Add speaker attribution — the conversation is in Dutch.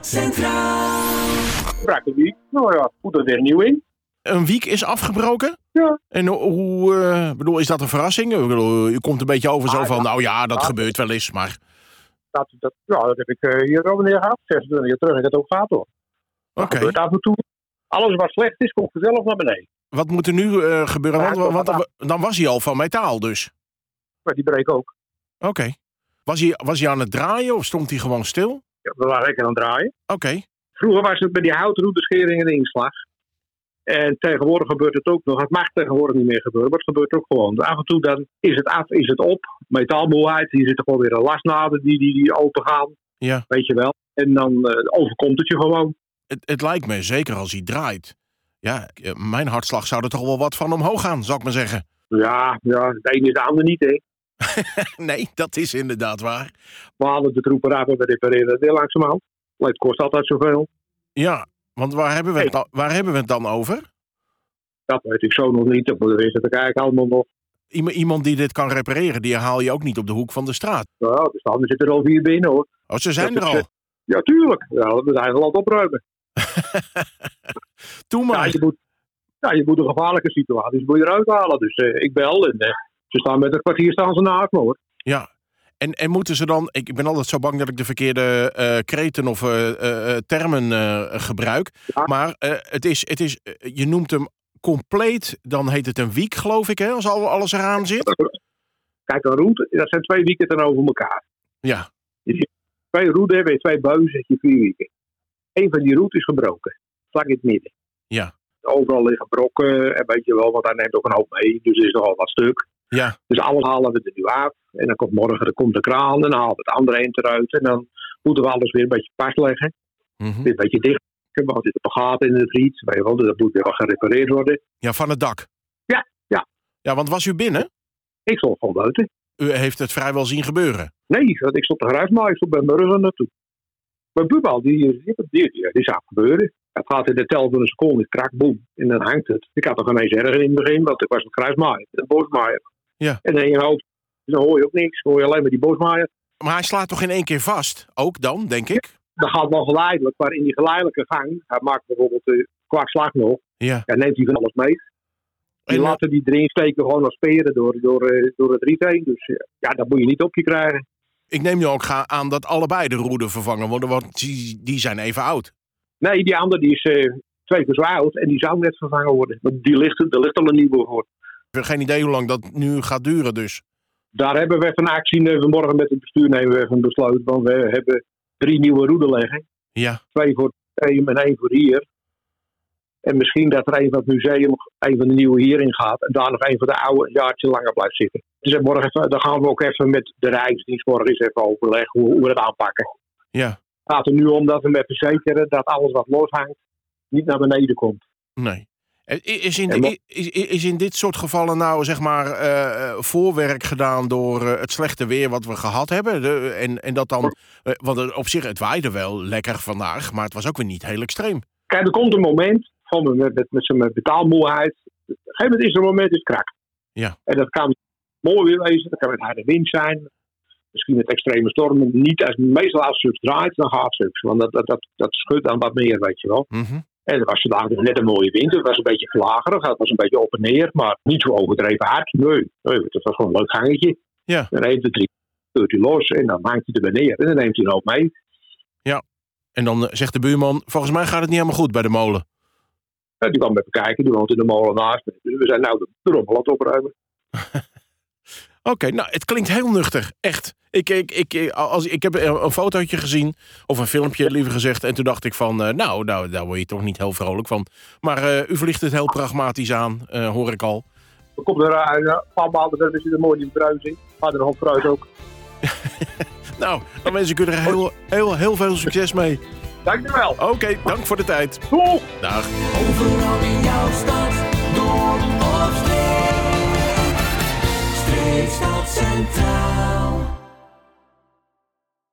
Speaker 1: Centraal.
Speaker 2: Brak een week. Nou ja, goed er weer nieuw in.
Speaker 3: Een week is afgebroken?
Speaker 2: Ja.
Speaker 3: En ho- hoe, eh, bedoel, is dat een verrassing? Ik bedoel, u komt een beetje over zo
Speaker 2: Ah,
Speaker 3: van,
Speaker 2: ja.
Speaker 3: nou ja, dat
Speaker 2: Ja.
Speaker 3: gebeurt wel eens, maar...
Speaker 2: Dat, dat, ja, dat heb ik eh, hier ook neer gehad. 26 jaar terug heb ik het ook gehad hoor.
Speaker 3: Oké,
Speaker 2: Ah, Gebeurt af en toe. Alles wat slecht is, komt vanzelf naar beneden.
Speaker 3: wat moet er nu eh, gebeuren?
Speaker 2: Ja,
Speaker 3: Want,
Speaker 2: ik wil
Speaker 3: want dan, dan was hij al van metaal dus.
Speaker 2: Maar die breek ook.
Speaker 3: Oké. Was, hij, was hij aan het draaien of stond hij gewoon stil? Oké.
Speaker 2: Ja, we waren lekker aan het draaien. Vroeger was het bij die houtrouderschering een inslag. En tegenwoordig gebeurt het ook nog. Het mag tegenwoordig niet meer gebeuren, maar het gebeurt ook gewoon. Af en toe dan is het af, is het op. Metaalmoeheid, hier zit er gewoon weer een lasnaden die, die, die open gaan.
Speaker 3: Ja.
Speaker 2: Weet je wel. En dan eh, overkomt het je gewoon.
Speaker 3: Het, het lijkt me, zeker als hij draait. Ja, eh, mijn hartslag zou er toch wel wat van omhoog gaan, zou ik maar zeggen.
Speaker 2: Ja, ja, de ene is de ander niet, hè.
Speaker 3: Nee, dat is inderdaad waar.
Speaker 2: We halen de troepen af en we repareren het heel langzamerhand. Maar het kost altijd zoveel.
Speaker 3: Ja, want waar hebben we het, dan, waar hebben we het dan over?
Speaker 2: Dat weet ik zo nog niet. Dat moet er eens even kijken allemaal nog.
Speaker 3: Iem- iemand die dit kan repareren, die haal je ook niet op de hoek van de straat.
Speaker 2: Nou, dus dan zitten er al vier binnen, hoor.
Speaker 3: Oh, ze zijn
Speaker 2: Dat
Speaker 3: er
Speaker 2: is,
Speaker 3: al.
Speaker 2: Ja, tuurlijk. Ja, we moeten eigen land opruimen.
Speaker 3: Doe
Speaker 2: Ja,
Speaker 3: maar.
Speaker 2: je moet, ja, je moet de gevaarlijke situaties moet je eruit halen. Dus eh, ik bel en eh, ze staan met een kwartier staan ze naast me hoor.
Speaker 3: En, en moeten ze dan... Ik ik ben altijd zo bang dat ik de verkeerde eh, kreten of eh, eh, eh, termen eh, gebruik.
Speaker 2: Ja.
Speaker 3: Maar eh, het is, het is, eh, je noemt hem compleet. Dan heet het een wiek, geloof ik, hè, als al- alles eraan zit.
Speaker 2: Kijk, een route, dat zijn twee wieken dan over elkaar.
Speaker 3: Ja,
Speaker 2: Twee routes hebben, je twee buizen, heb je vier wieken. Eén van die routes is gebroken. Vlak in het midden.
Speaker 3: Ja.
Speaker 2: Overal liggen brokken en weet je wel, want daar neemt ook een hoop mee. Dus er is nogal wat stuk.
Speaker 3: ja.
Speaker 2: Dus alles halen we er nu af. En dan komt morgen dan komt de kraan en dan halen we het andere eind eruit. En dan moeten we alles weer een beetje pas leggen.
Speaker 3: Mhm.
Speaker 2: Weer een beetje dicht. Want er zit een gaten in het riet. Weet je wel, dus dat moet weer wel gerepareerd worden.
Speaker 3: Ja, van het dak.
Speaker 2: Ja, ja.
Speaker 3: Ja, want was u binnen?
Speaker 2: Ik stond gewoon buiten.
Speaker 3: U heeft het vrijwel zien gebeuren.
Speaker 2: Nee, want ik stond te geruis, maar ik stond bij mijn rug aan naartoe. Mijn bubbal, die, die, die, die, die zag gebeuren. Het gaat in de tel van een seconde, krak, boem. En dan hangt het. Ik had toch ineens erger in het begin, want ik was een kruismaaier, een bosmaaier.
Speaker 3: Ja.
Speaker 2: En dan in je hoofd, dan hoor je ook niks. Dan hoor je alleen maar die bosmaaier.
Speaker 3: Maar hij slaat toch in één keer vast? Ook dan, denk ik?
Speaker 2: Dat gaat wel geleidelijk, maar in die geleidelijke gang, hij maakt bijvoorbeeld eh kwart slag nog,
Speaker 3: Ja.
Speaker 2: dan neemt hij van alles mee. Die
Speaker 3: En, eh,
Speaker 2: laten die erin steken gewoon als speren door, door, eh, door het riet heen. Dus eh, ja, dat moet je niet op je krijgen.
Speaker 3: ik neem nu ook ga- aan dat allebei de roeden vervangen worden, want die, die zijn even oud.
Speaker 2: Nee, die andere die is eh, twee keer zo oud en die zou net vervangen worden. Want die ligt, er ligt al een nieuwe voor.
Speaker 3: Ik heb geen idee hoe lang dat nu gaat duren, dus.
Speaker 2: Daar hebben we even een actie. eh, Vanmorgen met het bestuur nemen we even een besluit. Want we hebben drie nieuwe roeden liggen.
Speaker 3: Ja.
Speaker 2: Twee voor het museum en één voor hier. En misschien dat er een van het museum, een van de nieuwe hierin gaat. En daar nog een van de oude een jaartje langer blijft zitten. Dus eh, morgen even, dan gaan we ook even met de Rijksdienst morgen eens even overleggen hoe, hoe we dat aanpakken.
Speaker 3: Ja.
Speaker 2: Het gaat er nu om dat we met verzekeren dat alles wat loshangt niet naar beneden komt.
Speaker 3: Nee. Eh, i- Is in,
Speaker 2: En
Speaker 3: di- is, is in dit soort gevallen nou, zeg maar, eh, eh, voorwerk gedaan door eh, het slechte weer wat we gehad hebben? De- en, en dat dan, eh, want het- op zich, het waaide wel lekker vandaag, maar het was ook weer niet heel extreem.
Speaker 2: Kijk, er komt een moment van met, met, met zijn betaalmoeheid. Op een gegeven moment is er een moment is het krak.
Speaker 3: Ja.
Speaker 2: En dat kan mooi weer wezen, dat kan met harde wind zijn. Misschien met extreme stormen. Niet als, meestal als het draait, dan gaat het. Want dat, dat, dat, dat schudt dan wat meer, weet je wel.
Speaker 3: Mhm.
Speaker 2: En het was vandaag dus net een mooie wind. Het was een beetje vlagerig. Het was een beetje op en neer. Maar niet zo overdreven hard. Nee, nee het was gewoon een leuk gangetje.
Speaker 3: Ja.
Speaker 2: Dan neemt de drie, scheurt hij los. En dan hangt hij er beneden. En dan neemt hij een hoop mee.
Speaker 3: En dan eh, zegt de buurman, volgens mij gaat het niet helemaal goed bij de molen.
Speaker 2: Ja, die kwam even kijken. Die woont in de molen naast. me. Dus we zijn nou de, de rommel aan het opruimen.
Speaker 3: Oké, nou, het klinkt heel nuchter. Echt. Ik, ik, ik, ik- als, ik heb een een fotootje gezien, of een filmpje liever gezegd. En toen dacht ik van, eh, nou, nou, daar word je toch niet heel vrolijk van. Maar eh, u vliegt het heel pragmatisch aan, eh, hoor ik al.
Speaker 2: Dan komt er eh, een paar maanden verder, zit er mooi die bruising. Maar dan hoop bruis ook.
Speaker 3: Nou, dan wens ik u er heel, heel, heel veel succes mee.
Speaker 2: Dankjewel.
Speaker 3: Oké, dank voor de tijd.
Speaker 2: Doeg!
Speaker 3: Dag.
Speaker 1: Overal in jouw stad, dorp of streek. Streekstad Centraal.